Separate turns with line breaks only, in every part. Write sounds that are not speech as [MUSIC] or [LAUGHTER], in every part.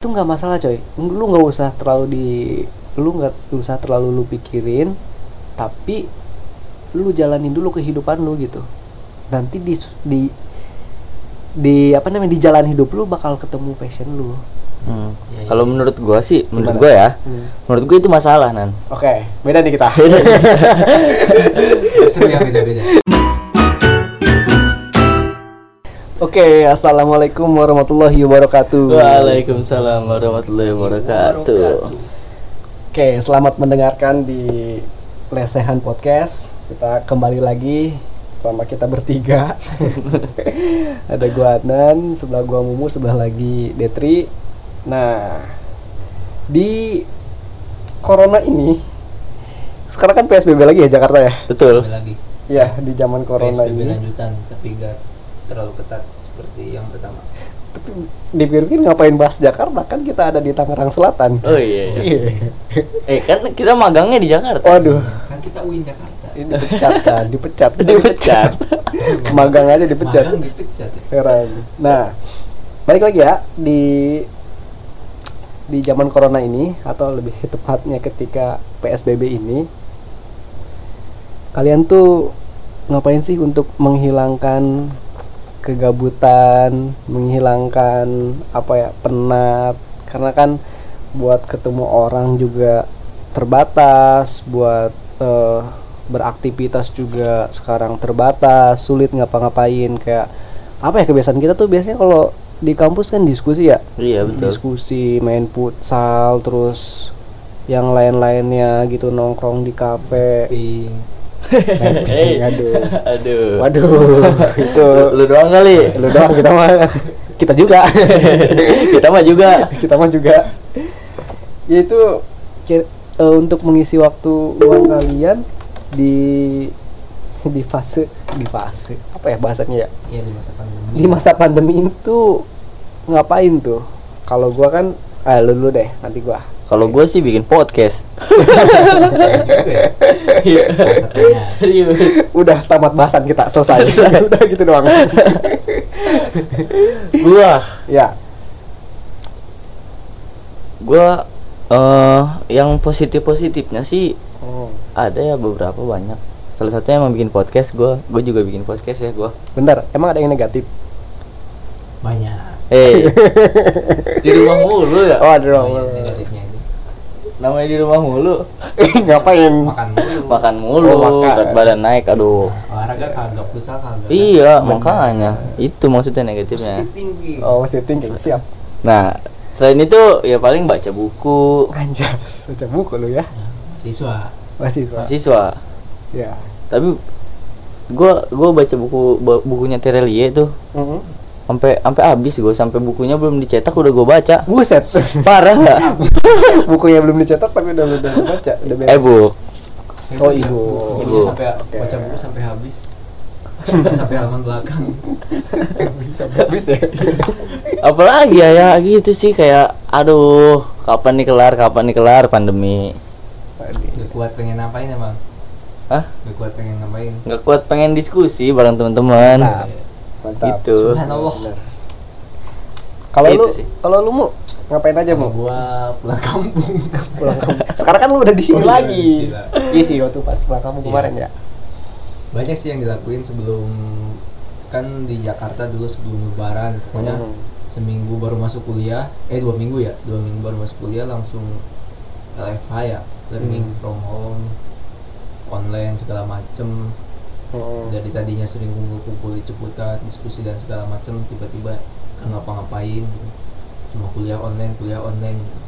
itu nggak masalah coy lu nggak usah terlalu di lu nggak usah terlalu lu pikirin tapi lu jalanin dulu kehidupan lu gitu nanti di di di apa namanya di jalan hidup lu bakal ketemu passion lu
Hmm.
Ya,
Kalau menurut gua sih,
Gimana?
menurut gua ya,
Hmm.
menurut gua itu masalah nan.
oke beda nih kita
Justru yang beda-beda.
[LAUGHS] oke assalamualaikum warahmatullahi wabarakatuh
Waalaikumsalam warahmatullahi wabarakatuh.
oke selamat mendengarkan di lesehan podcast kita kembali lagi sama kita bertiga ada gua Adnan sebelah gua Mumu sebelah lagi Detri nah di corona ini sekarang kan PSBB lagi ya Jakarta ya
Betul.
Kembali lagi.
ya di zaman corona
PSBB
ini
lanjutan tapi gak terlalu ketat seperti yang pertama.
tapi dipikir-pikir ngapain bahas Jakarta kan kita ada di Tangerang Selatan
Oh iya. iya.
Iya.
Eh kan kita magangnya di Jakarta.
waduh
Kan kita UIN Jakarta.
ini dipecat kan dipecat
Oh, iya, Dipecat.
magang aja dipecat
Magang dipecat ya.
heran nah balik lagi ya di di zaman corona ini atau lebih tepatnya ketika PSBB ini kalian tuh ngapain sih untuk menghilangkan kegabutan, menghilangkan apa ya penat karena kan buat ketemu orang juga terbatas, buat eh, beraktivitas juga sekarang terbatas, sulit ngapa-ngapain kayak apa ya kebiasaan kita tuh biasanya kalau di kampus kan diskusi ya
Iya betul.
diskusi main futsal terus yang lain-lainnya gitu nongkrong di kafe
Tapi
Mapping, aduh
[LAUGHS] Aduh.
waduh itu
Lu doang [LAUGHS] kali.
lu doang kita mah kita juga
kita mah juga.
kita mah juga yaitu ki- eh, untuk mengisi waktu luang kalian di di fase di fase apa ya bahasanya ya
ya di masa pandemi.
di masa pandemi itu ngapain tuh kalau gua kan eh lu dulu deh nanti gua [LAUGHS]
Kalau gua sih bikin podcast.
juga ya.
Iya.
Salah satunya.
Serius.
udah tamat bahasan kita selesai [LAUGHS]
Selesai.
udah gitu doang
gua
ya
gua eh yang positif positifnya sih
Oh.
ada ya beberapa banyak salah satunya emang bikin podcast gua gua juga bikin podcast ya gua
bentar emang ada yang negatif
Banyak.
eh di rumah mulu ya
oh ada
Banyak
dong
negatifnya ini.
namanya di rumah mulu
ngapain
Makan mulu.
makan mulu
Oh, makan.
berat badan naik aduh
Olahraga kagak, futsal kagak.
iya makanya itu maksudnya negatifnya
Positif tinggi.
oh masih thinking siap
nah selain itu ya paling baca buku
anjas baca buku lu ya
Siswa.
masih masih
mahasiswa
ya
tapi gua gua baca buku bu- bukunya Terelie tuh
Mhm.
sampai sampai habis gua sampai bukunya belum dicetak udah gua baca
buset
parah [LAUGHS] nggak
[LAUGHS] bukunya belum dicetak tapi udah udah baca udah beres
eh
[LAUGHS]
bu
Oh,
Saya
ibu.
Ibu.
baca buku sampai baca buku sampai habis. sampai halaman belakang.
bisa habis [LAUGHS] ya
Kan
apalagi ya ya gitu sih kayak aduh kapan nih kelar kapan nih kelar pandemi
Gak kuat pengen ngapain emang.
Hah?
Gak kuat pengen ngapain.
nggak kuat pengen diskusi bareng teman-teman
Mantap. mantap
gitu
Subhanallah.
kalau
Itu
lu
sih.
kalau lu mau ngapain aja
Sama
mau
gua pulang kampung.
pulang kampung sekarang kan lu udah di sini
Oh, iya, di
lagi
sini lah. Iya.
iya sih waktu pas pulang kampung kemarin ya
Banyak sih yang dilakuin sebelum kan di Jakarta dulu sebelum lebaran. Pokoknya
Hmm.
seminggu baru masuk kuliah, eh dua minggu ya, dua minggu baru masuk kuliah langsung LFH ya, learning
Hmm.
from home, online segala macem.
Mhm.
Jadi tadinya sering kumpul-kumpul di Ciputat, diskusi dan segala macem, tiba-tiba nggak ngapa-ngapain, gitu. cuma kuliah online, kuliah online. gitu.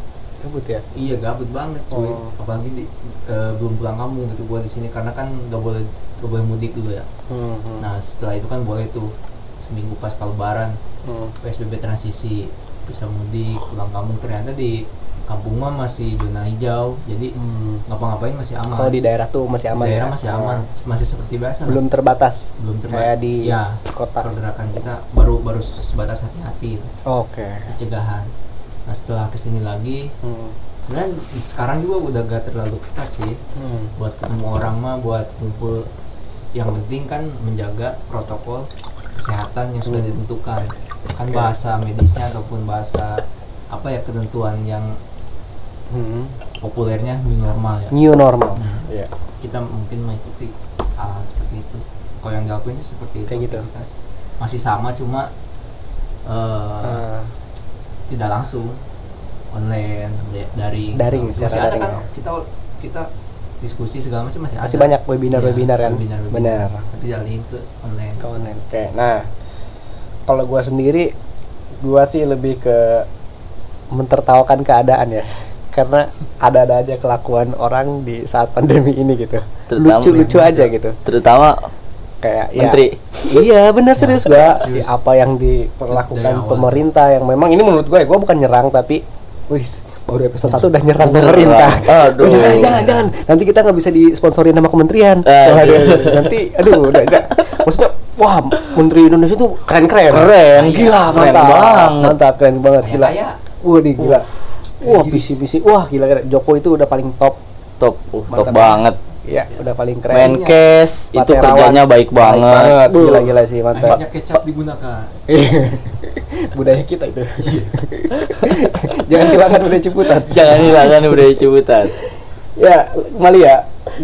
Gabut ya
Iya gabut banget cuy,
Oh.
apalagi di, eh, belum pulang kampung gitu gua di sini karena kan nggak boleh nggak boleh mudik dulu ya.
Mhm.
Nah setelah itu kan boleh tuh seminggu pas lebaran
Mhm.
PSBB transisi bisa mudik pulang kampung ternyata di kampung mah masih zona hijau jadi
Hmm.
ngapa-ngapain masih aman
Kalau di daerah tuh masih aman.
daerah
ya?
masih aman masih seperti biasa lah.
Belum terbatas.
belum terba-
Kayak di
ya
kota.
pergerakan kita baru baru sebatas hati-hati
Oke.
pencegahan nah setelah kesini lagi
Hmm.
sebenarnya sekarang juga udah gak terlalu ketat sih
Hmm.
buat ketemu orang mah buat kumpul yang penting kan menjaga protokol kesehatan yang sudah ditentukan kan bahasa medisnya ataupun bahasa apa ya ketentuan yang
Hmm.
populernya new normal ya
New normal.
Nah.
Iya.
kita mungkin mengikuti hal seperti itu kalau yang dilakuin itu seperti itu
Kayak gitu.
aktivitas. masih sama cuma eh,
Ah,
tidak langsung online da- daring
Daring,
masih
secara
ada
daring,
kan
ya.
kita kita diskusi segala macam masih
masih
ada.
banyak webinar-webinar
Iya,
kan.
webinar-webinar.
Benar.
tapi jalinin ke online
Ke online. Oke. Nah, kalau gua sendiri gua sih lebih ke mentertawakan keadaan ya. Karena ada-ada aja kelakuan orang di saat pandemi ini gitu.
Terutama
Lucu-lucu
yang-
aja gitu.
terutama
Kayak ya,
menteri
iya benar serius gua
serius.
Ya, apa yang diperlakukan
awal.
pemerintah yang memang ini menurut gue ya gue bukan nyerang tapi wis baru episode satu udah nyerang
Nyerang.
pemerintah
Aduh.
jangan jangan jangan. nanti kita nggak bisa disponsorin sama kementerian
Aduh.
Waduh, nanti aduh udah udah maksudnya wah menteri Indonesia tuh keren keren keren gila
Keren
mantap
banget.
mantap keren banget
Kayak
gila
kaya.
wah di gila wah
Keren
visi visi wah gila gila Jokowi itu udah paling top
top uh, top
Mantap.
banget
ya udah paling keren
Menkes
Pak
itu
Terawan.
kerjanya baik
banget
banget,
gila gila sih mantap
akhirnya kecap digunakan
Iya. [LAUGHS] budaya kita itu [LAUGHS] jangan hilangkan budaya ciputat
Iya. jangan hilangkan budaya cibutan
ya kembali ya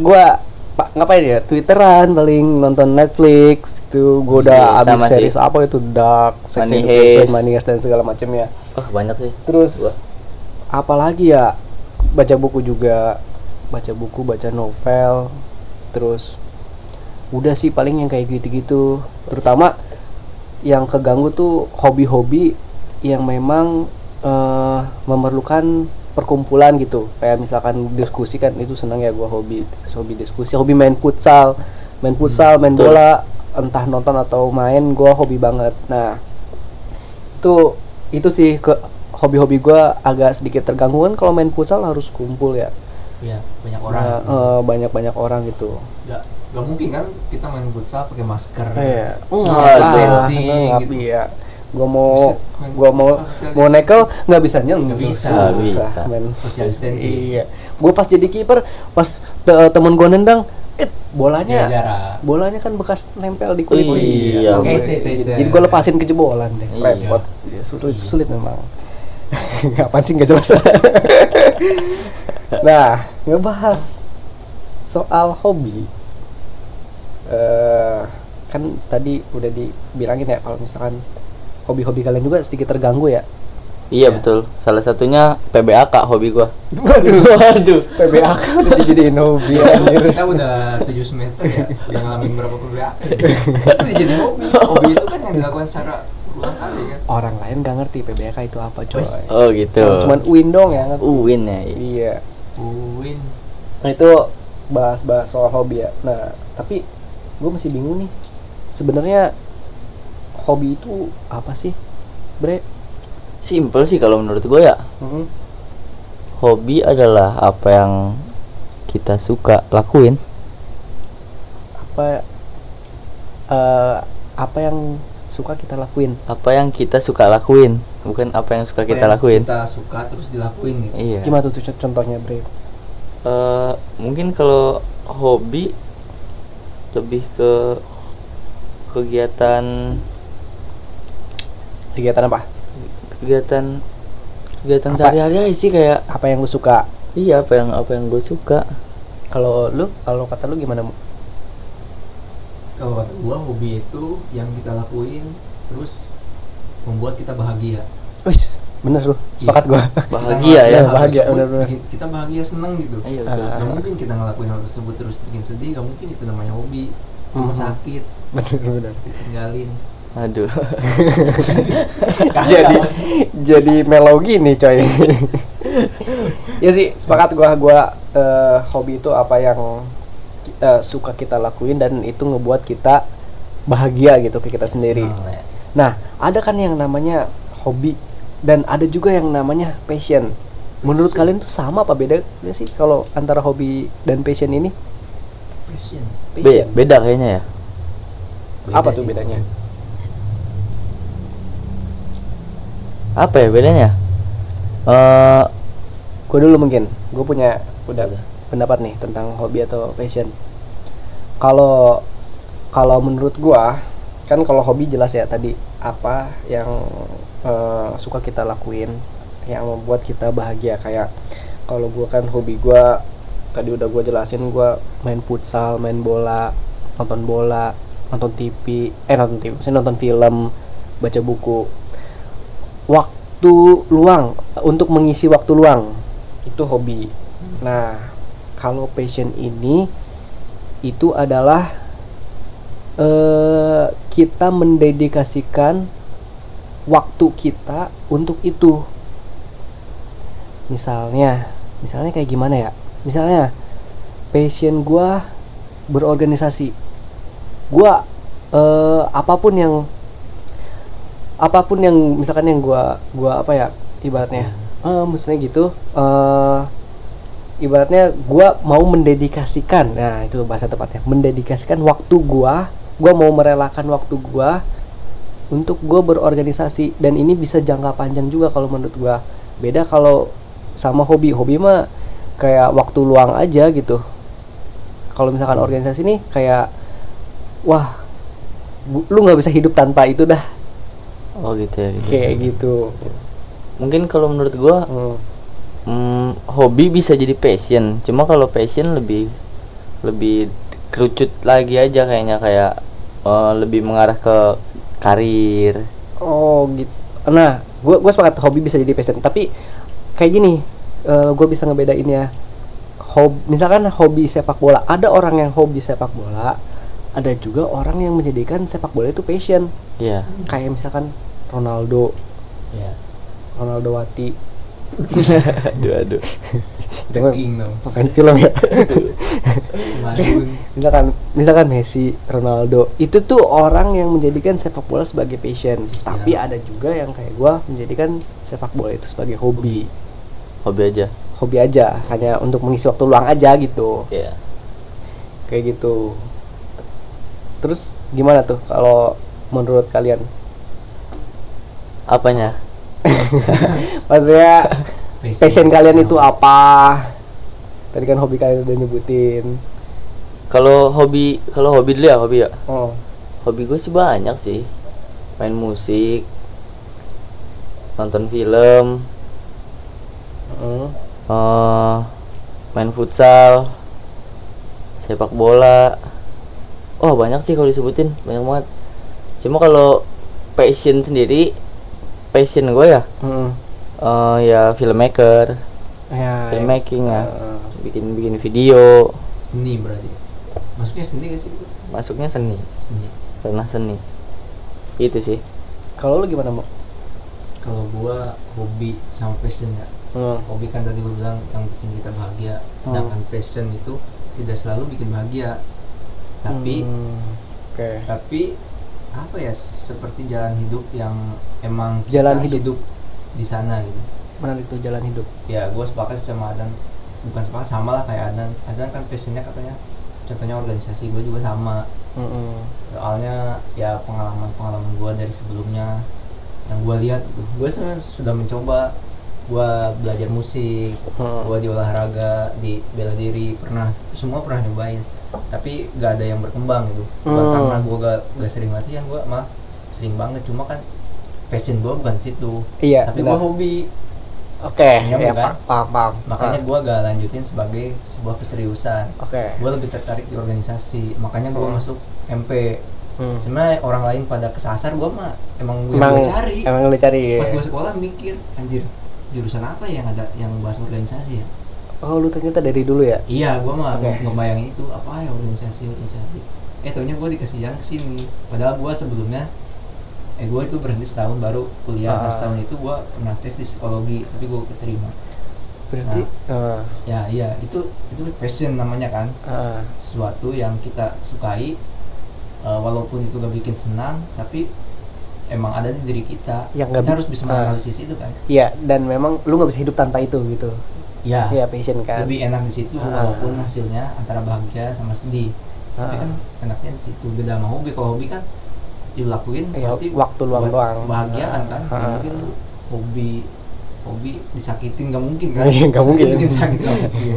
gua pak ngapain ya twitteran paling nonton Netflix gitu gua udah
Iya,
abis
sama sih.
series apa itu Dark, Sex
Money
Education,
Heist.
Money Heist, dan segala macamnya
oh banyak sih
terus
Gua.
apalagi ya baca buku juga baca buku baca novel terus udah sih paling yang kayak gitu-gitu terutama yang keganggu tuh hobi-hobi yang memang eh, memerlukan perkumpulan gitu kayak misalkan diskusi kan itu seneng ya gua hobi hobi diskusi hobi main futsal main futsal main
betul.
bola entah nonton atau main gua hobi banget nah itu itu sih ke hobi-hobi gua agak sedikit terganggu kan kalau main futsal harus kumpul ya
ya banyak orang
Nah, eh, banyak-banyak orang gitu
nggak nggak mungkin kan kita main futsal pakai masker
Iya.
Social
Enggak,
distancing
enggak,
gitu.
Iya. Gua mau
Buset, main
gua mau
futsal social
mau nekel nggak bisa nyeng.
Nggak bisa.
Nggak bisa.
men.
Social distancing.
Iya. Gua pas jadi kiper, pas te- temen gua nendang, eh,
Jaga
bolanya
jarak
bolanya kan bekas nempel di kulit.
Iya.
Sama
Hand
gue.
sanitizer.
Jadi gua lepasin ke jebolan deh.
Iya.
Repot. Ya, sulit sulit memang. [LAUGHS] Apaan sih nggak jelas. [LAUGHS] nah, ngebahas soal hobi eh kan tadi udah dibilangin ya kalau misalkan hobi-hobi kalian juga sedikit terganggu ya
iya betul salah satunya PBAK hobi gua
[LAUGHS]
[LAUGHS]
waduh
waduh
PBAK [LAUGHS] udah dijadiin hobi anjir
kita udah tujuh semester ya udah ngalamin berapa PBAK ya. itu jadi hobi hobi itu kan yang dilakukan secara ulang kali kan
orang lain gak ngerti PBAK itu apa coy
Wes.
oh gitu
cuman Win dong ya ngerti.
Uwin ya iya.
iya
Uin
nah, itu bahas-bahas soal hobi ya nah tapi gue masih bingung nih sebenarnya hobi itu apa sih bre
simple sih kalau menurut gua ya
Mm-mm.
hobi adalah apa yang kita suka lakuin
apa eh, apa yang suka kita lakuin
apa yang kita suka lakuin bukan apa yang suka
Apa
kita
yang
lakuin
kita suka terus dilakuin gitu
iya
gimana tuh co- contohnya bre
Eh, mungkin kalau hobi lebih ke kegiatan
kegiatan apa
kegiatan kegiatan
Apa?
sehari-hari aja sih kayak
apa yang lu suka
iya apa yang apa yang gue suka
kalau lu kalau kata lu gimana Mu?
kalau kata gua hobi itu yang kita lakuin terus membuat kita bahagia
wis bener lu sepakat gua
bahagia
ngelakuin
ya
hal
bahagia,
tersebut,
benar-benar.
bikin- kita bahagia seneng gitu
iya
Ah.
betul
Gak mungkin kita ngelakuin hal tersebut terus bikin sedih, gak mungkin itu namanya hobi. Rumah
Mhm.
sakit,
[LAUGHS] bener bener
ditinggalin.
aduh
[LAUGHS] jadi jadi melogi nih coy ya sih sepakat gua gua eh, hobi itu apa yang ki- eh, suka kita lakuin dan itu ngebuat kita bahagia gitu ke kita sendiri
Seneng, ya.
Nah, ada kan yang namanya hobi dan ada juga yang namanya passion. Menurut
Passion.
kalian tuh sama apa beda nggak sih kalau antara hobi dan passion ini?
Passion.
[LAUGHS]
Mm.
Be-
Passion.
beda kayaknya ya
Apa
sih.
tuh bedanya?
apa ya bedanya Eh,
Gue dulu mungkin. Gue punya udah pendapat nih tentang hobi atau passion. Kalau kalau menurut gua kan kalau hobi jelas ya tadi apa yang eh, suka kita lakuin yang membuat kita bahagia kayak kalau gua kan hobi gua tadi udah gua jelasin gua main futsal main bola nonton bola nonton TV eh nonton TV maksudnya nonton film baca buku waktu luang untuk mengisi waktu luang itu hobi nah kalau passion ini itu adalah eh kita mendedikasikan waktu kita untuk itu misalnya misalnya kayak gimana ya misalnya passion gua berorganisasi gua eh, apapun yang apapun yang misalkan yang gua gua apa ya ibaratnya eh, maksudnya gitu eh, ibaratnya gua mau mendedikasikan nah itu bahasa tepatnya mendedikasikan waktu gua gua mau merelakan waktu gua untuk gue berorganisasi dan ini bisa jangka panjang juga kalau menurut gue beda kalau sama hobi hobi mah kayak waktu luang aja gitu kalau misalkan organisasi nih kayak wah gu- lu nggak bisa hidup tanpa itu dah
oh gitu ya gitu.
kayak gitu
mungkin kalau menurut gua
Hmm.
mm, hobi bisa jadi passion cuma kalau passion lebih lebih kerucut lagi aja kayaknya kayak eh, lebih mengarah ke karir
oh gitu nah gue gue sepakat hobi bisa jadi passion tapi kayak gini gue bisa ngebedain ya hobi misalkan hobi sepak bola ada orang yang hobi sepak bola ada juga orang yang menjadikan sepak bola itu passion
ya
kayak misalkan Ronaldo
ya
Ronaldo Wati
[LAUGHS] aduh aduh
jangan
King
[LAUGHS]
dong
makan film ya
Semadun
misalkan misalkan Messi Ronaldo itu tuh orang yang menjadikan sepak bola sebagai passion
Cristiano.
tapi ada juga yang kayak gua menjadikan sepak bola itu sebagai hobi
hobi aja
hobi aja hanya untuk mengisi waktu luang aja gitu
ya
kayak gitu terus gimana tuh kalau menurut [LAUGHS] kalian
apanya
maksudnya passion kalian
Nah,
itu apa tadi kan hobi kalian udah nyebutin
kalau hobi kalau hobi dulu ya hobi ya
oh
hobi gue sih banyak sih main musik nonton film
Hmm.
eh, main futsal sepak bola oh banyak sih kalau disebutin banyak banget cuma kalau passion sendiri passion gue ya
Hmm.
eh, ya filmmaker
Ya,
filmmaking ya
Heeh.
bikin bikin video
seni berarti maksudnya seni gak sih itu?
masuknya seni
seni
pernah seni itu sih
Kalau lu gimana mau?
kalau gua hobi sama passion ya
Mm.
hobi kan tadi gua bilang yang bikin kita bahagia sedangkan passion itu tidak selalu bikin bahagia tapi
Hmm, oke.
tapi apa ya seperti jalan hidup yang emang
Jalan hidup.
di sana gitu
Menarik tuh jalan hidup.
ya gue sepakat sama Adan bukan sepakat sama lah kayak Adan Adan kan passionnya katanya contohnya organisasi gue juga sama
Mm-mm.
soalnya ya pengalaman pengalaman gue dari sebelumnya yang gue lihat gitu gue sebenarnya sudah mencoba gue belajar musik
Hmm.
gue di olahraga di bela diri pernah semua pernah nyobain tapi gak ada yang berkembang gitu bukan
Hmm.
karena gue gak, gak sering latihan gue mah sering banget cuma kan passion gue bukan situ
Iya.
tapi
benar.
gue hobi
Oke.
Nyambung
Ya,
kan?
pa- paham paham.
makanya gue gak lanjutin sebagai sebuah keseriusan
Ah, Oke.
gue lebih tertarik di organisasi makanya gue
Hmm.
masuk MP
Hmm.
sebenarnya orang lain pada kesasar gue mah emang gue
Emang
gue cari
emang lu cari. ya?
pas gue sekolah mikir anjir jurusan apa yang ada yang bahas organisasi ya
Oh lu ternyata dari dulu ya.
iya gue mah
Oke.
nge- ngebayangin itu apa ya organisasi organisasi eh taunya gue dikasih yang kesini padahal gue sebelumnya eh gue itu berhenti setahun baru kuliah
Ah.
Nah, setahun itu gue pernah tes di psikologi tapi gue keterima
Berarti. Ah,
ya iya itu itu passion namanya kan
ah.
sesuatu yang kita sukai eh, walaupun itu gak bikin senang tapi emang ada di diri kita
Yang nggak
kita
bi-
harus bisa
Ah.
menganalisis itu kan
Iya. Dan memang lu nggak bisa hidup tanpa itu gitu.
ya
Iya passion kan.
lebih enak di situ
Ah.
walaupun hasilnya antara bahagia sama sedih tapi
Ah.
kan enaknya di situ beda sama hobi kalau hobi kan dilakuin
Iya,
pasti
waktu luang
buat
doang.
kebahagiaan kan Nggak
Ah.
mungkin lu hobi hobi disakitin gak mungkin kan
[LAUGHS] [LAUGHS] Iya, nggak mungkin. Iya.
bikin sakit
[LAUGHS]
nggak mungkin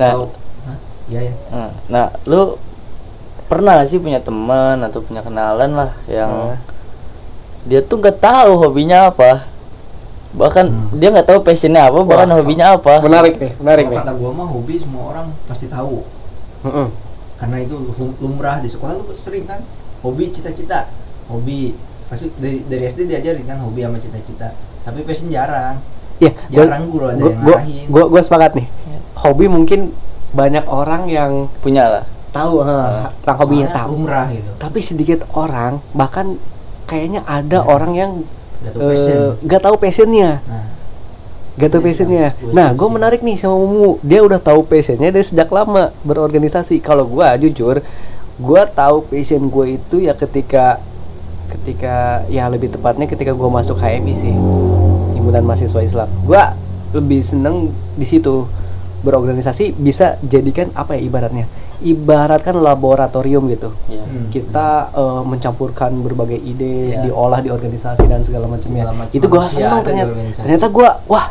Nah.
Kalau- Hah? iya ya
Nah, Nah, lu pernah gak sih punya teman atau punya
Oh.
kenalan lah
Ah.
yang dia tuh nggak tahu hobinya apa? bahkan
Hmm.
dia nggak tahu passionnya apa bahkan
Wah,
hobinya apa
menarik nih menarik nih
Kalau kata gua mah hobi semua orang pasti tahu
Mm-mm.
karena itu lum- lumrah di sekolah lu sering kan hobi cita-cita hobi pasti dari, dari SD diajarin kan hobi sama cita-cita tapi passion jarang
Iya, gua-
jarang guru ada
gua,
yang
gua,
ngarahin Ya.
gua, gua sepakat nih hobi mungkin banyak orang yang
punya lah
tahu eh,
Ah.
tentang hobinya
Soalnya
tahu
lumrah gitu
tapi sedikit orang bahkan kayaknya ada
Ya.
orang yang
gak tau passion
eh, nggak tahu passionnya
nah
Gak tau
Iya sih,
passionnya.
Kang. Gua
Nah,
setuju
gue
sih.
menarik nih sama Mumu. Dia udah tahu passionnya dari sejak lama berorganisasi. Kalau gue jujur, gue tahu passion gue itu ya ketika ketika ya lebih tepatnya ketika gue masuk HMI sih himpunan mahasiswa Islam. Gue lebih seneng di situ berorganisasi bisa jadikan apa ya ibaratnya ibaratkan laboratorium gitu
Iya.
Hmm.
kita eh, mencampurkan berbagai ide
Iya.
diolah di organisasi dan segala macamnya
Segala macam
itu gua
manusia
senang
ada di
ternyata
organisasi.
ternyata gua wah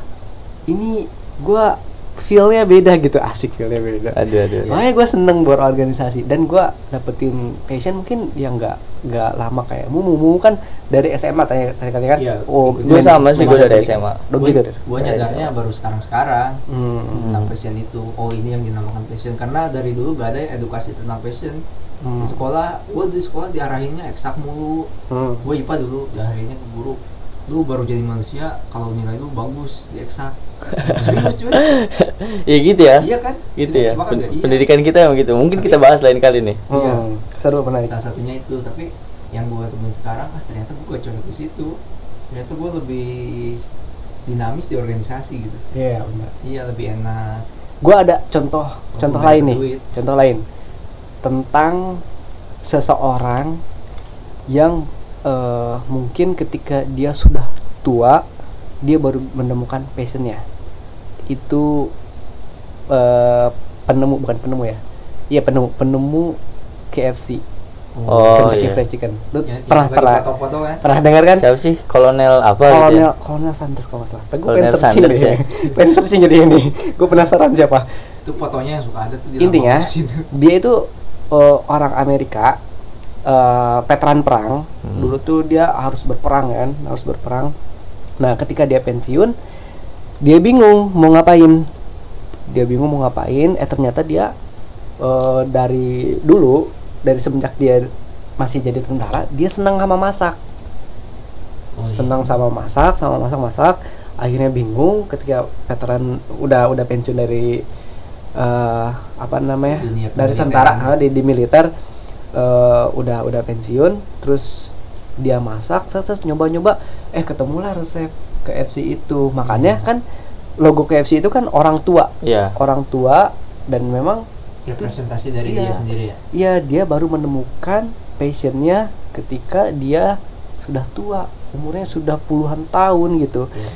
ini gua feelnya beda gitu asik feelnya beda
aduh aduh
makanya gua seneng berorganisasi dan gua dapetin passion mungkin yang nggak nggak lama kayak mumu Mumu kan dari SMA tanya tadi kan
Iya,
oh
ikut
gue
main-
sama sih
main
gue
basket
dari
gitu.
SMA
Lo
Gua-
gitu Dir?
gua
Dari
nyadarnya
SMA.
baru sekarang sekarang
Hmm.
tentang passion itu oh ini yang dinamakan passion karena dari dulu gak ada edukasi tentang passion
Hmm.
di sekolah gue di sekolah diarahinnya eksak mulu
Hmm.
gue IPA dulu diarahinnya ke guru lu baru jadi manusia kalau nilai lu bagus di
[LAUGHS]
eksak serius cuy
ya gitu ya
iya kan
gitu ya
Serius, sepakat
Pen-
nggak? Iya.
pendidikan kita emang gitu mungkin
Tapi-
kita bahas lain kali nih
Hmm.
Iya.
seru menarik
salah satunya itu tapi yang gue temuin sekarang ah ternyata gue gak cocok di situ ternyata gue lebih dinamis di organisasi gitu
iya benar
iya lebih enak
gue ada contoh
Oh,
contoh
banyak
lain nih
duit.
contoh lain tentang seseorang yang eh, mungkin ketika dia sudah tua dia baru menemukan passionnya itu eh, penemu bukan penemu ya iya penemu penemu KFC Hmm.
oh
Kentucky
iya
Fried Chicken lu
Ya,
pernah
tiba-tiba
pernah
dipoto-poto kan
pernah dengar kan
siapa sih kolonel apa gitu ya?
Kolonel Kolonel Sanders kalau nggak salah. Gue pengen
Kolonel
searching
Sanders
deh.
ya.
[LAUGHS] pengen searching jadi ini. Gue penasaran siapa.
itu fotonya yang suka ada tuh di
intinya
lambang [LAUGHS] situ.
dia itu eh, orang Amerika eh, veteran perang
Hmm.
dulu tuh dia harus berperang kan harus berperang nah ketika dia pensiun dia bingung mau ngapain dia bingung mau ngapain eh ternyata dia eh, dari dulu dari semenjak dia masih jadi tentara dia senang sama masak
Oh, iya.
senang sama masak sama masak masak akhirnya bingung ketika veteran udah udah pensiun dari eh, apa namanya
Dunia
dari
kemiliteran.
tentara ah, di, di militer eh, udah udah pensiun terus dia masak terus, terus nyoba-nyoba eh ketemulah resep KFC itu makanya kan logo KFC itu kan orang tua
Iya.
orang tua dan memang
representasi dari
Iya.
dia sendiri ya
ya dia baru menemukan passionnya ketika dia sudah tua umurnya sudah puluhan tahun gitu
Iya,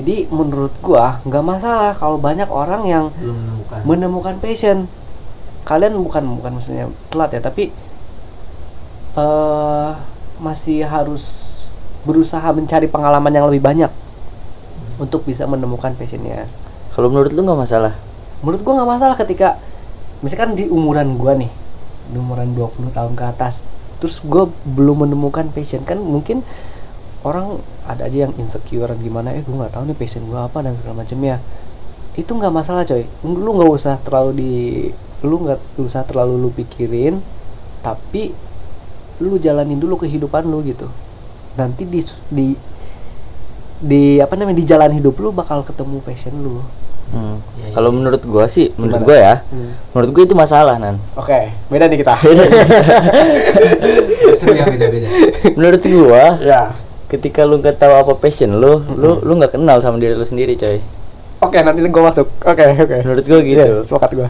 jadi menurut gua nggak masalah kalau banyak orang yang
belum menemukan
menemukan passion kalian bukan bukan maksudnya telat ya tapi eh masih harus berusaha mencari pengalaman yang lebih banyak untuk bisa menemukan passionnya
kalau menurut lu nggak masalah
menurut gua nggak masalah ketika misalkan di umuran gua nih di umuran 20 tahun ke atas terus gua belum menemukan passion kan mungkin orang ada aja yang insecure gimana eh gua nggak tahu nih passion gua apa dan segala macamnya itu nggak masalah coy lu nggak usah terlalu di lu nggak usah terlalu lu pikirin tapi lu jalanin dulu kehidupan lu gitu nanti di di di apa namanya di jalan hidup lu bakal ketemu passion lu
Hmm.
Iya, iya.
kalau menurut gua sih menurut
Gimana?
gua ya
Hmm.
menurut gua itu masalah nan
Oke, beda nih kita.
seru yang beda-beda
menurut gua
[LAUGHS] ya.
ketika lu nggak tahu apa passion lu lu lu nggak kenal sama diri lu sendiri coy
Oke, nanti gue masuk. Oke, oke.
menurut gua gitu
Iya, sepakat gue.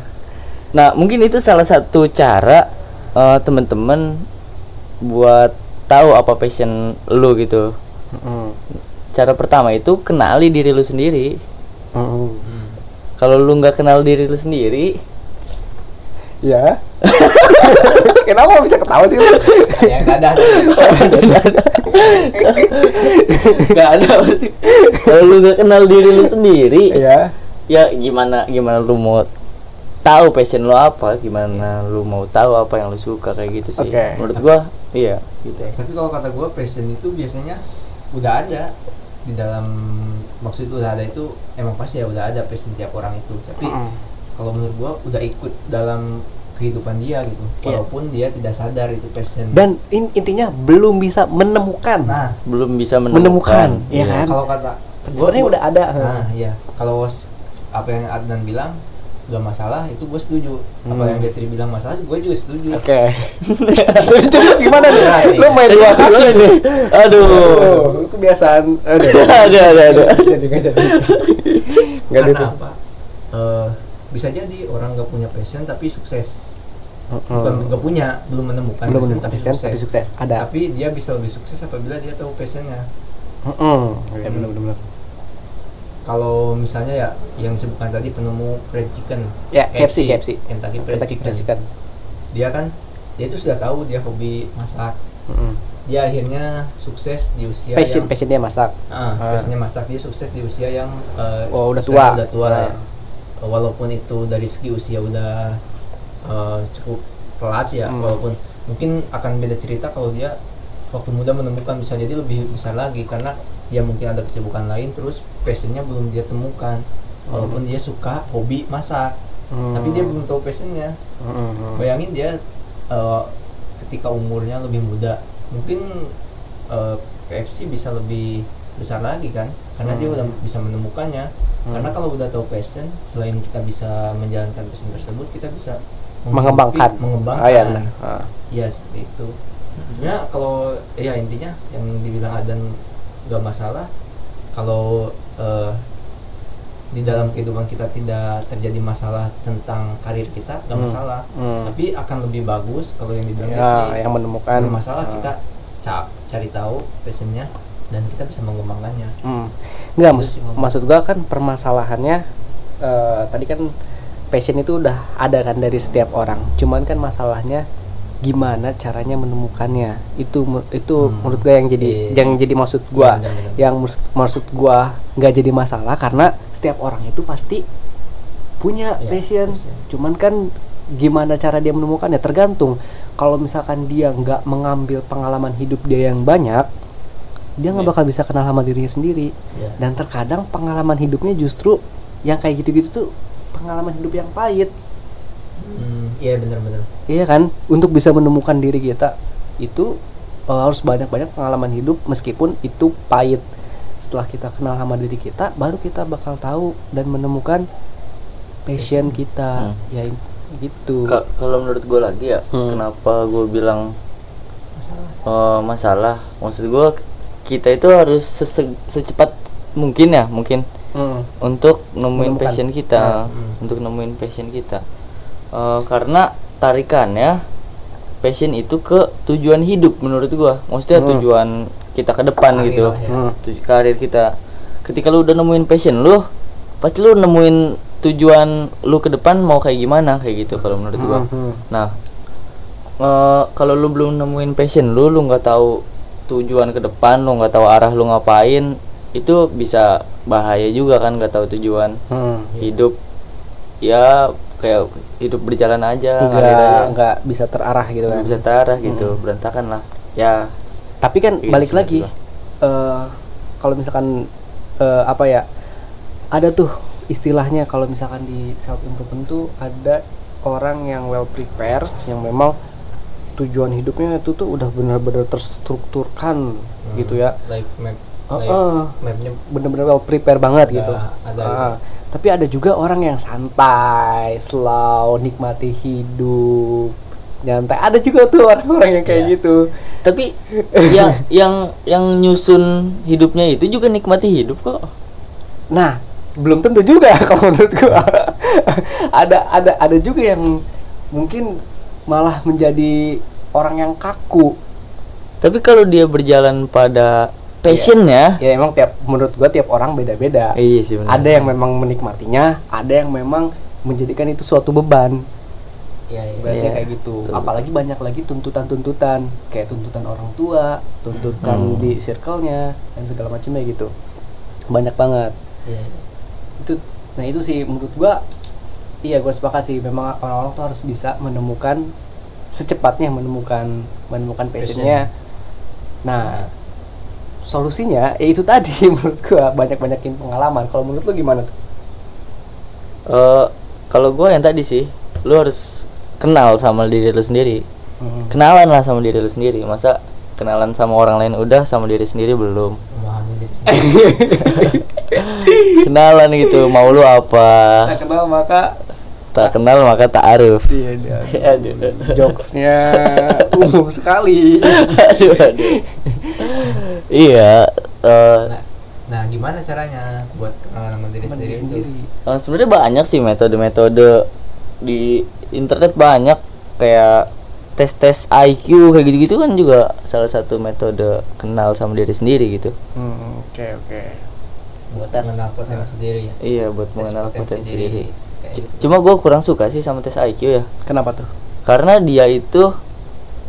Nah, mungkin itu salah satu cara eh, teman-teman buat tahu apa passion lu gitu. Cara pertama itu kenali diri lu sendiri.
Hmm.
Kalau lu nggak kenal diri lu sendiri, [LAUGHS]
Ya. [LAUGHS] Kenapa bisa ketawa sih lu?
Ada yang dadah
nggak ada. pasti. Kalau lu nggak kenal diri lu sendiri,
Iya.
ya gimana gimana lu mau tahu passion lu apa? Gimana lu mau tahu apa yang lu suka kayak gitu sih.
Oke.
Menurut gua, iya gitu.
tapi kalau kata gue passion itu biasanya udah ada di dalam maksud udah ada itu emang pasti ya udah ada passion tiap orang itu tapi kalau menurut gua udah ikut dalam kehidupan dia gitu
Iya.
walaupun dia tidak sadar itu passion
Dan in- intinya belum bisa menemukan.
nah
belum bisa
menemukan,
menemukan,
ya kan?
Iya kalau kata
Sebenarnya udah ada.
nah iya kalau was- apa yang Adnan bilang gak masalah itu gue setuju apa
Hmm.
yang Detri bilang masalah gue juga
[LAUGHS]
setuju Nah,
Oke. Itu gimana nih? Lu main dua kaki nih.
Iya,
Iya,
aduh
Aduh, kebiasaan. [LAUGHS] Aduh. Iya,
ada ada ada
Jadi nggak jadi. Nggak
karena
gitu.
apa Eh, bisa jadi orang gak punya passion tapi sukses bukan gak punya belum menemukan
Oh. Belum menemukan
passion,
passion, tapi sukses. Ada.
tapi dia bisa lebih sukses apabila dia tahu passionnya
Heeh.
Eh,
Iya, bener, bener, bener.
kalau misalnya ya yang disebutkan tadi penemu fried chicken
Ya, KFC, KFC.
Kentucky fried
Kentucky
chicken.
Fried Chicken.
dia kan dia itu sudah tahu dia hobi masak
Mm-mm.
dia akhirnya sukses di usia
Passion,
yang
passion dia masak.
Ah,
Ah.
biasanya masak dia sukses di usia yang eh,
Oh, udah tua.
sekarang udah tua lah ya.
Ah.
walaupun itu dari segi usia udah eh, cukup pelat ya
Hmm.
walaupun mungkin akan beda cerita kalau dia waktu muda menemukan bisa jadi lebih besar lagi karena dia mungkin ada kesibukan lain terus passionnya belum dia temukan
Hmm.
walaupun dia suka hobi masak tapi dia belum tahu passionnya bayangin dia eh, ketika umurnya lebih muda mungkin eh, KFC bisa lebih besar lagi kan karena
Hmm.
dia udah bisa menemukannya karena kalau udah tahu passion selain kita bisa menjalankan passion tersebut kita bisa menghidupi-
Mengembangkan.
mengembangkan
Ah, iya, benar. Ah.
Iya, seperti itu sebenarnya kalau ya intinya yang dibilang Adan gak masalah kalau eh, di dalam kehidupan kita tidak terjadi masalah tentang karir kita gak
Hmm.
masalah
Hmm.
tapi akan lebih bagus kalau yang dibilang
Ya,
Diki,
yang menemukan
bermasalah
Ah.
kita ca- cari tahu passionnya dan kita bisa mengembangkannya
Hmm. Nggak,
Terus
maksud,
gimana?
maksud gua kan permasalahannya eh, tadi kan passion itu udah ada kan dari setiap orang. Cuman kan masalahnya gimana caranya menemukannya. Itu mu- itu
Hmm.
menurut gua yang jadi
Iya.
yang jadi maksud gua.
Benar, benar.
Yang mus- maksud gua nggak jadi masalah karena setiap orang itu pasti punya
Iya,
passion.
passion.
Cuman kan gimana cara dia menemukannya tergantung. Kalau misalkan dia nggak mengambil pengalaman hidup dia yang banyak, dia nggak
Iya.
bakal bisa kenal sama dirinya sendiri
Iya.
dan terkadang pengalaman hidupnya justru yang kayak gitu-gitu tuh pengalaman hidup yang pahit
Hmm, iya benar-benar
iya kan untuk bisa menemukan diri kita itu eh, harus banyak-banyak pengalaman hidup meskipun itu pahit setelah kita kenal sama diri kita baru kita bakal tahu dan menemukan passion kita
Hmm.
ya gitu
Ka- kalau menurut gue lagi ya
Hmm.
kenapa gue bilang
masalah
eh, masalah maksud gue kita itu harus sese- secepat mungkin ya mungkin
Hmm.
untuk nemuin
Menemukan.
passion kita
Hmm.
untuk nemuin passion kita Eh, karena tarikannya passion itu ke tujuan hidup menurut gua maksudnya
Hmm.
tujuan kita ke depan
Karir
gitu
lah ya.
Hmm.
Tu- karir kita ketika lu udah nemuin passion lu pasti lu nemuin tujuan lu ke depan mau kayak gimana kayak gitu kalau menurut gua
Hmm.
nah eh, kalau lu belum nemuin passion lu lu nggak tahu tujuan ke depan lu nggak tahu arah lu ngapain itu bisa bahaya juga kan nggak tahu tujuan
Hmm.
hidup ya kayak hidup berjalan aja
Iya, nggak
ngalir aja
nggak bisa terarah gitu
nggak
kan
bisa terarah gitu berantakan lah ya
tapi kan
Iya,
balik
sih,
lagi
betul.
eh kalau misalkan eh, apa ya ada tuh istilahnya kalau misalkan di self improvement tuh ada orang yang well prepared yang memang tujuan hidupnya itu tuh udah benar-benar terstrukturkan
Hmm.
gitu ya
life map
Heeh.
life mapnya
bener-bener well prepared banget
Ada-
gitu.
Nah, ada
Ah,
itu.
tapi ada juga orang yang santai, slow, nikmati hidup, nyantai. Ada juga tuh orang-orang yang kayak
Iya.
gitu.
tapi
[LAUGHS]
yang yang yang nyusun hidupnya itu juga nikmati hidup kok
Nah, belum tentu juga [LAUGHS] kalau menurut gua. ada ada ada juga yang mungkin malah menjadi orang yang kaku.
tapi kalau dia berjalan pada passionnya
Ya emang tiap menurut gua tiap orang beda-beda.
eh, iya sih benar
Ada yang memang menikmatinya, ada yang memang menjadikan itu suatu beban.
ya, ya.
Berarti
Iya,
kayak gitu.
betul,
Apalagi banyak lagi tuntutan-tuntutan, kayak tuntutan orang tua, tuntutan
Hmm.
di circle-nya dan segala macamnya gitu. Banyak banget.
Iya, iya.
itu nah itu sih menurut gua iya gua sepakat sih memang orang-orang tuh harus bisa menemukan secepatnya menemukan menemukan passionnya nah solusinya ya itu tadi [LAUGHS] menurut gua banyak-banyakin pengalaman kalau menurut lu gimana tuh
Eh, kalau gue yang tadi sih lu harus kenal sama diri lu sendiri
Hmm.
kenalan lah sama diri lu sendiri masa kenalan sama orang lain udah sama diri sendiri belum
memahami diri
[LAUGHS]
sendiri
kenalan gitu mau lu apa
tak kenal maka
tak kenal maka tak arif
iya dia [LAUGHS]
aduh
jokesnya umum sekali
[LAUGHS] aduh aduh iya eh,
nah, nah gimana caranya buat kenalan sama diri sendiri, itu
Eh, sebenarnya banyak sih metode-metode di internet banyak kayak tes tes IQ kayak gitu-gitu kan juga salah satu metode kenal sama diri sendiri gitu.
Hmm, oke oke
buat
Tes.
mengenal potensi diri ya
Iya buat
Tes
mengenal
potensi
potensi
diri.
diri.
Kayak
C-
gitu.
Cuma gue kurang suka sih sama tes IQ ya,
kenapa tuh
karena dia itu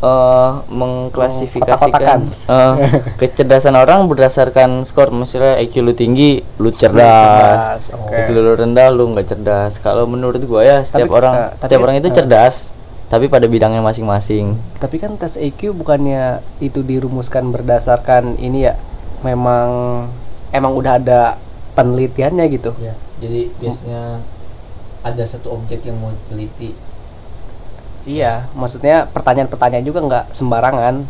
eh mengklasifikasikan eh, kecerdasan orang berdasarkan skor. Misalnya IQ lu tinggi, lu cerdas.
oke
Begitu lu rendah lu nggak cerdas. Kalau menurut gua ya setiap
Tapi,
orang
eh, tapi,
setiap orang itu
eh,
cerdas tapi pada bidangnya masing-masing.
tapi kan tes EQ bukannya itu dirumuskan berdasarkan ini ya memang emang udah ada penelitiannya gitu
Iya.
ya jadi biasanya ada satu objek yang mau diteliti
iya maksudnya pertanyaan-pertanyaan juga nggak sembarangan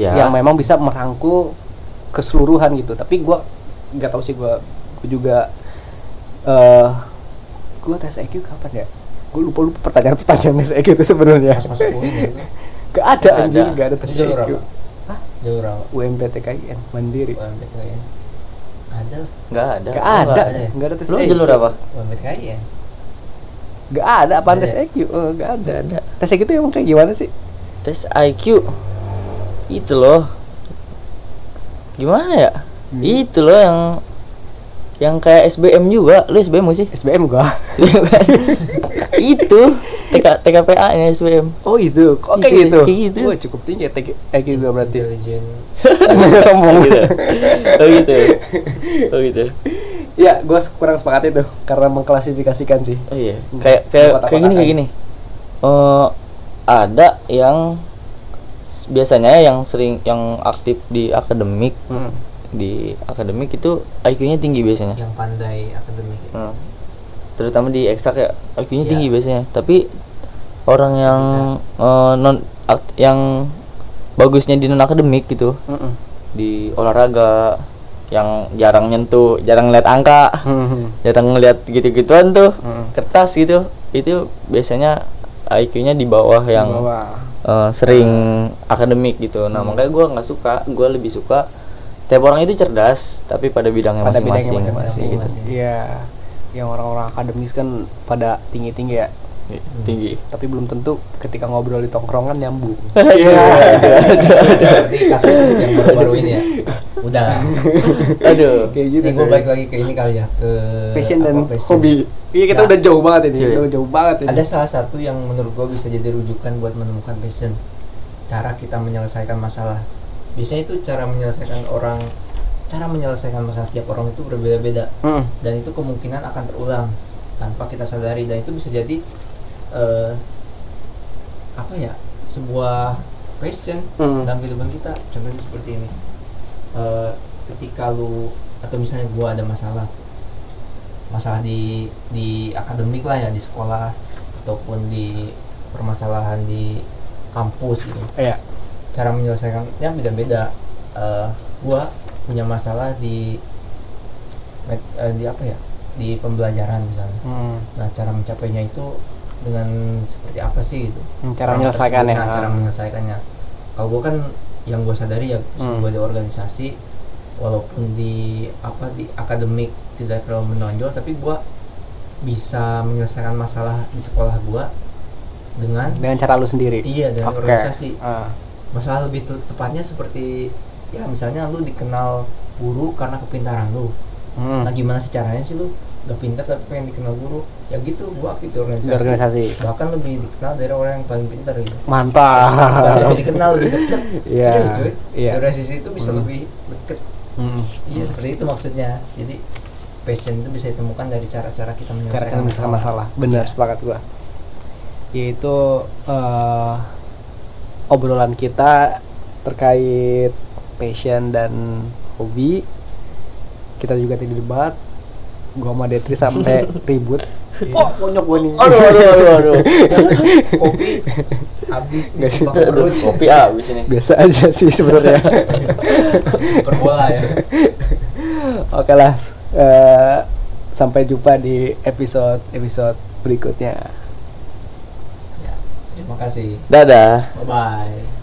Ya.
yang memang bisa merangkul keseluruhan gitu tapi gua nggak tahu sih gua, gua juga eh gua tes EQ kapan ya gue lupa lupa pertanyaan pertanyaan tes EQ itu sebenarnya
masuk [LAUGHS] masuk poin gitu
gak ada
Nggak
anjir
ada.
gak ada tes
itu jalur apa
EQ Hah?
jalur apa
UMPTKIN mandiri
UMPTKIN ada lah
nggak
gak
ada.
ada
Nggak
ada.
gak ada tes
Lu
EQ
jalur apa?
UMPTKIN
gak ada apaan
Nggak
tes
ada.
EQ Eh, gak ada tes EQ itu emang kayak gimana sih
Tes IQ. Itu loh. Gimana ya?
Hmm.
Itu loh yang yang kayak SBM juga. Lu SBM nggak sih?
SBM gua
[LAUGHS] itu TK, TKPA-nya SBM.
[LAUGHS] oh itu kok kayak
Iya,
gitu
kayak gitu.
Wah, cukup tinggi ya TK EQ gua berarti
intelijen
[LAUGHS] sombong
Gitu. Oh gitu. Oh gitu.
ya gua kurang sepakat itu karena mengklasifikasikan sih
Oh iya. Kayak kayak kayak gini kayak gini. Eh ada yang s- biasanya yang sering yang aktif di akademik
Hmm.
di akademik itu IQ-nya tinggi biasanya.
yang pandai [LAUGHS] akademik ya.
Hmm. Terutama di eksak ya IQ-nya
Iya.
tinggi biasanya. Tapi orang yang eh, non ak- yang bagusnya di non akademik gitu
Mm-mm.
di olahraga yang jarang nyentuh, jarang lihat angka,
Hmm.
jarang ngelihat gitu-gituan tuh
Hmm.
kertas gitu itu biasanya IQ-nya di bawah yang
Bahwa-
eh, sering akademik gitu. Nah makanya gua nggak suka, gua lebih suka setiap orang itu cerdas tapi pada bidangnya
pada bidangnya
masing-masing.
masing-masing gitu.
Masing-masing.
Iya. Yang orang-orang akademis kan pada tinggi-tinggi ya,
Iya, Tinggi.
tapi belum tentu ketika ngobrol di tongkrongan [LAUGHS] nyambung.
Iya. seperti kasus yang baru-baru ini ya udah lah
[LAUGHS] Aduh.
Kayak gitu.
ini gue
coy.
balik lagi ke ini kali ya ke
passion
apa,
dan
passion.
hobi. Iya, kita
Nah.
udah jauh banget ini.
Iya, iya.
Udah jauh banget ini.
ada salah satu yang menurut gue bisa jadi rujukan buat menemukan passion cara kita menyelesaikan masalah biasanya itu cara menyelesaikan orang cara menyelesaikan masalah tiap orang itu berbeda-beda
Hmm.
dan itu kemungkinan akan terulang tanpa kita sadari dan itu bisa jadi eh, apa ya sebuah passion
Hmm.
dalam kehidupan kita contohnya seperti ini Eh, ketika lu atau misalnya gua ada masalah masalah di di akademik lah ya di sekolah ataupun di permasalahan di kampus gitu
Iya.
cara menyelesaikannya beda-beda Eh, gua punya masalah di met- eh, di apa ya di pembelajaran misalnya
Hmm.
nah cara mencapainya itu dengan seperti apa sih gitu
Hmm, Cara
Orang
menyelesaikannya. Ah.
tersebut, nah, cara menyelesaikannya kalau gue kan yang gue sadari ya
Hmm.
gue di organisasi walaupun di apa di akademik tidak terlalu menonjol tapi gue bisa menyelesaikan masalah di sekolah gue dengan
Dengan cara lu sendiri.
iya dengan
Oke.
organisasi
Ah.
masalah lebih te- tepatnya seperti ya misalnya lu dikenal guru karena kepintaran lu
Hmm.
nah gimana sih caranya sih lu udah pintar tapi pengen dikenal guru ya gitu gue aktif di
Di
organisasi,
organisasi.
bahkan lebih dikenal dari orang yang paling pintar
[LAUGHS]
gitu Bahkan
Mantap.
lebih dikenal lebih deket
Iya.
serius cuy
Iya.
organisasi itu bisa
Hmm.
lebih deket
Hmm.
iya seperti itu maksudnya jadi passion itu bisa ditemukan dari cara-cara kita
cara
menyelesaikan
kita menyelesaikan masalah benar sepakat gua yaitu eh, obrolan kita terkait passion dan hobi kita juga tadi debat gua sama Detri
[LAUGHS]
sampai ribut
Iya.
oh konyol gua nih
Aduh, aduh, aduh, aduh.
[LAUGHS]
kopi habis
Nggak sih. ya.
nih bakar
aduh
perut
kopi habis ini.
biasa aja sih
[LAUGHS]
sebenarnya
per bola ya
oke lah eh, sampai jumpa di episode episode berikutnya
Ya, terima kasih
Dadah.
bye bye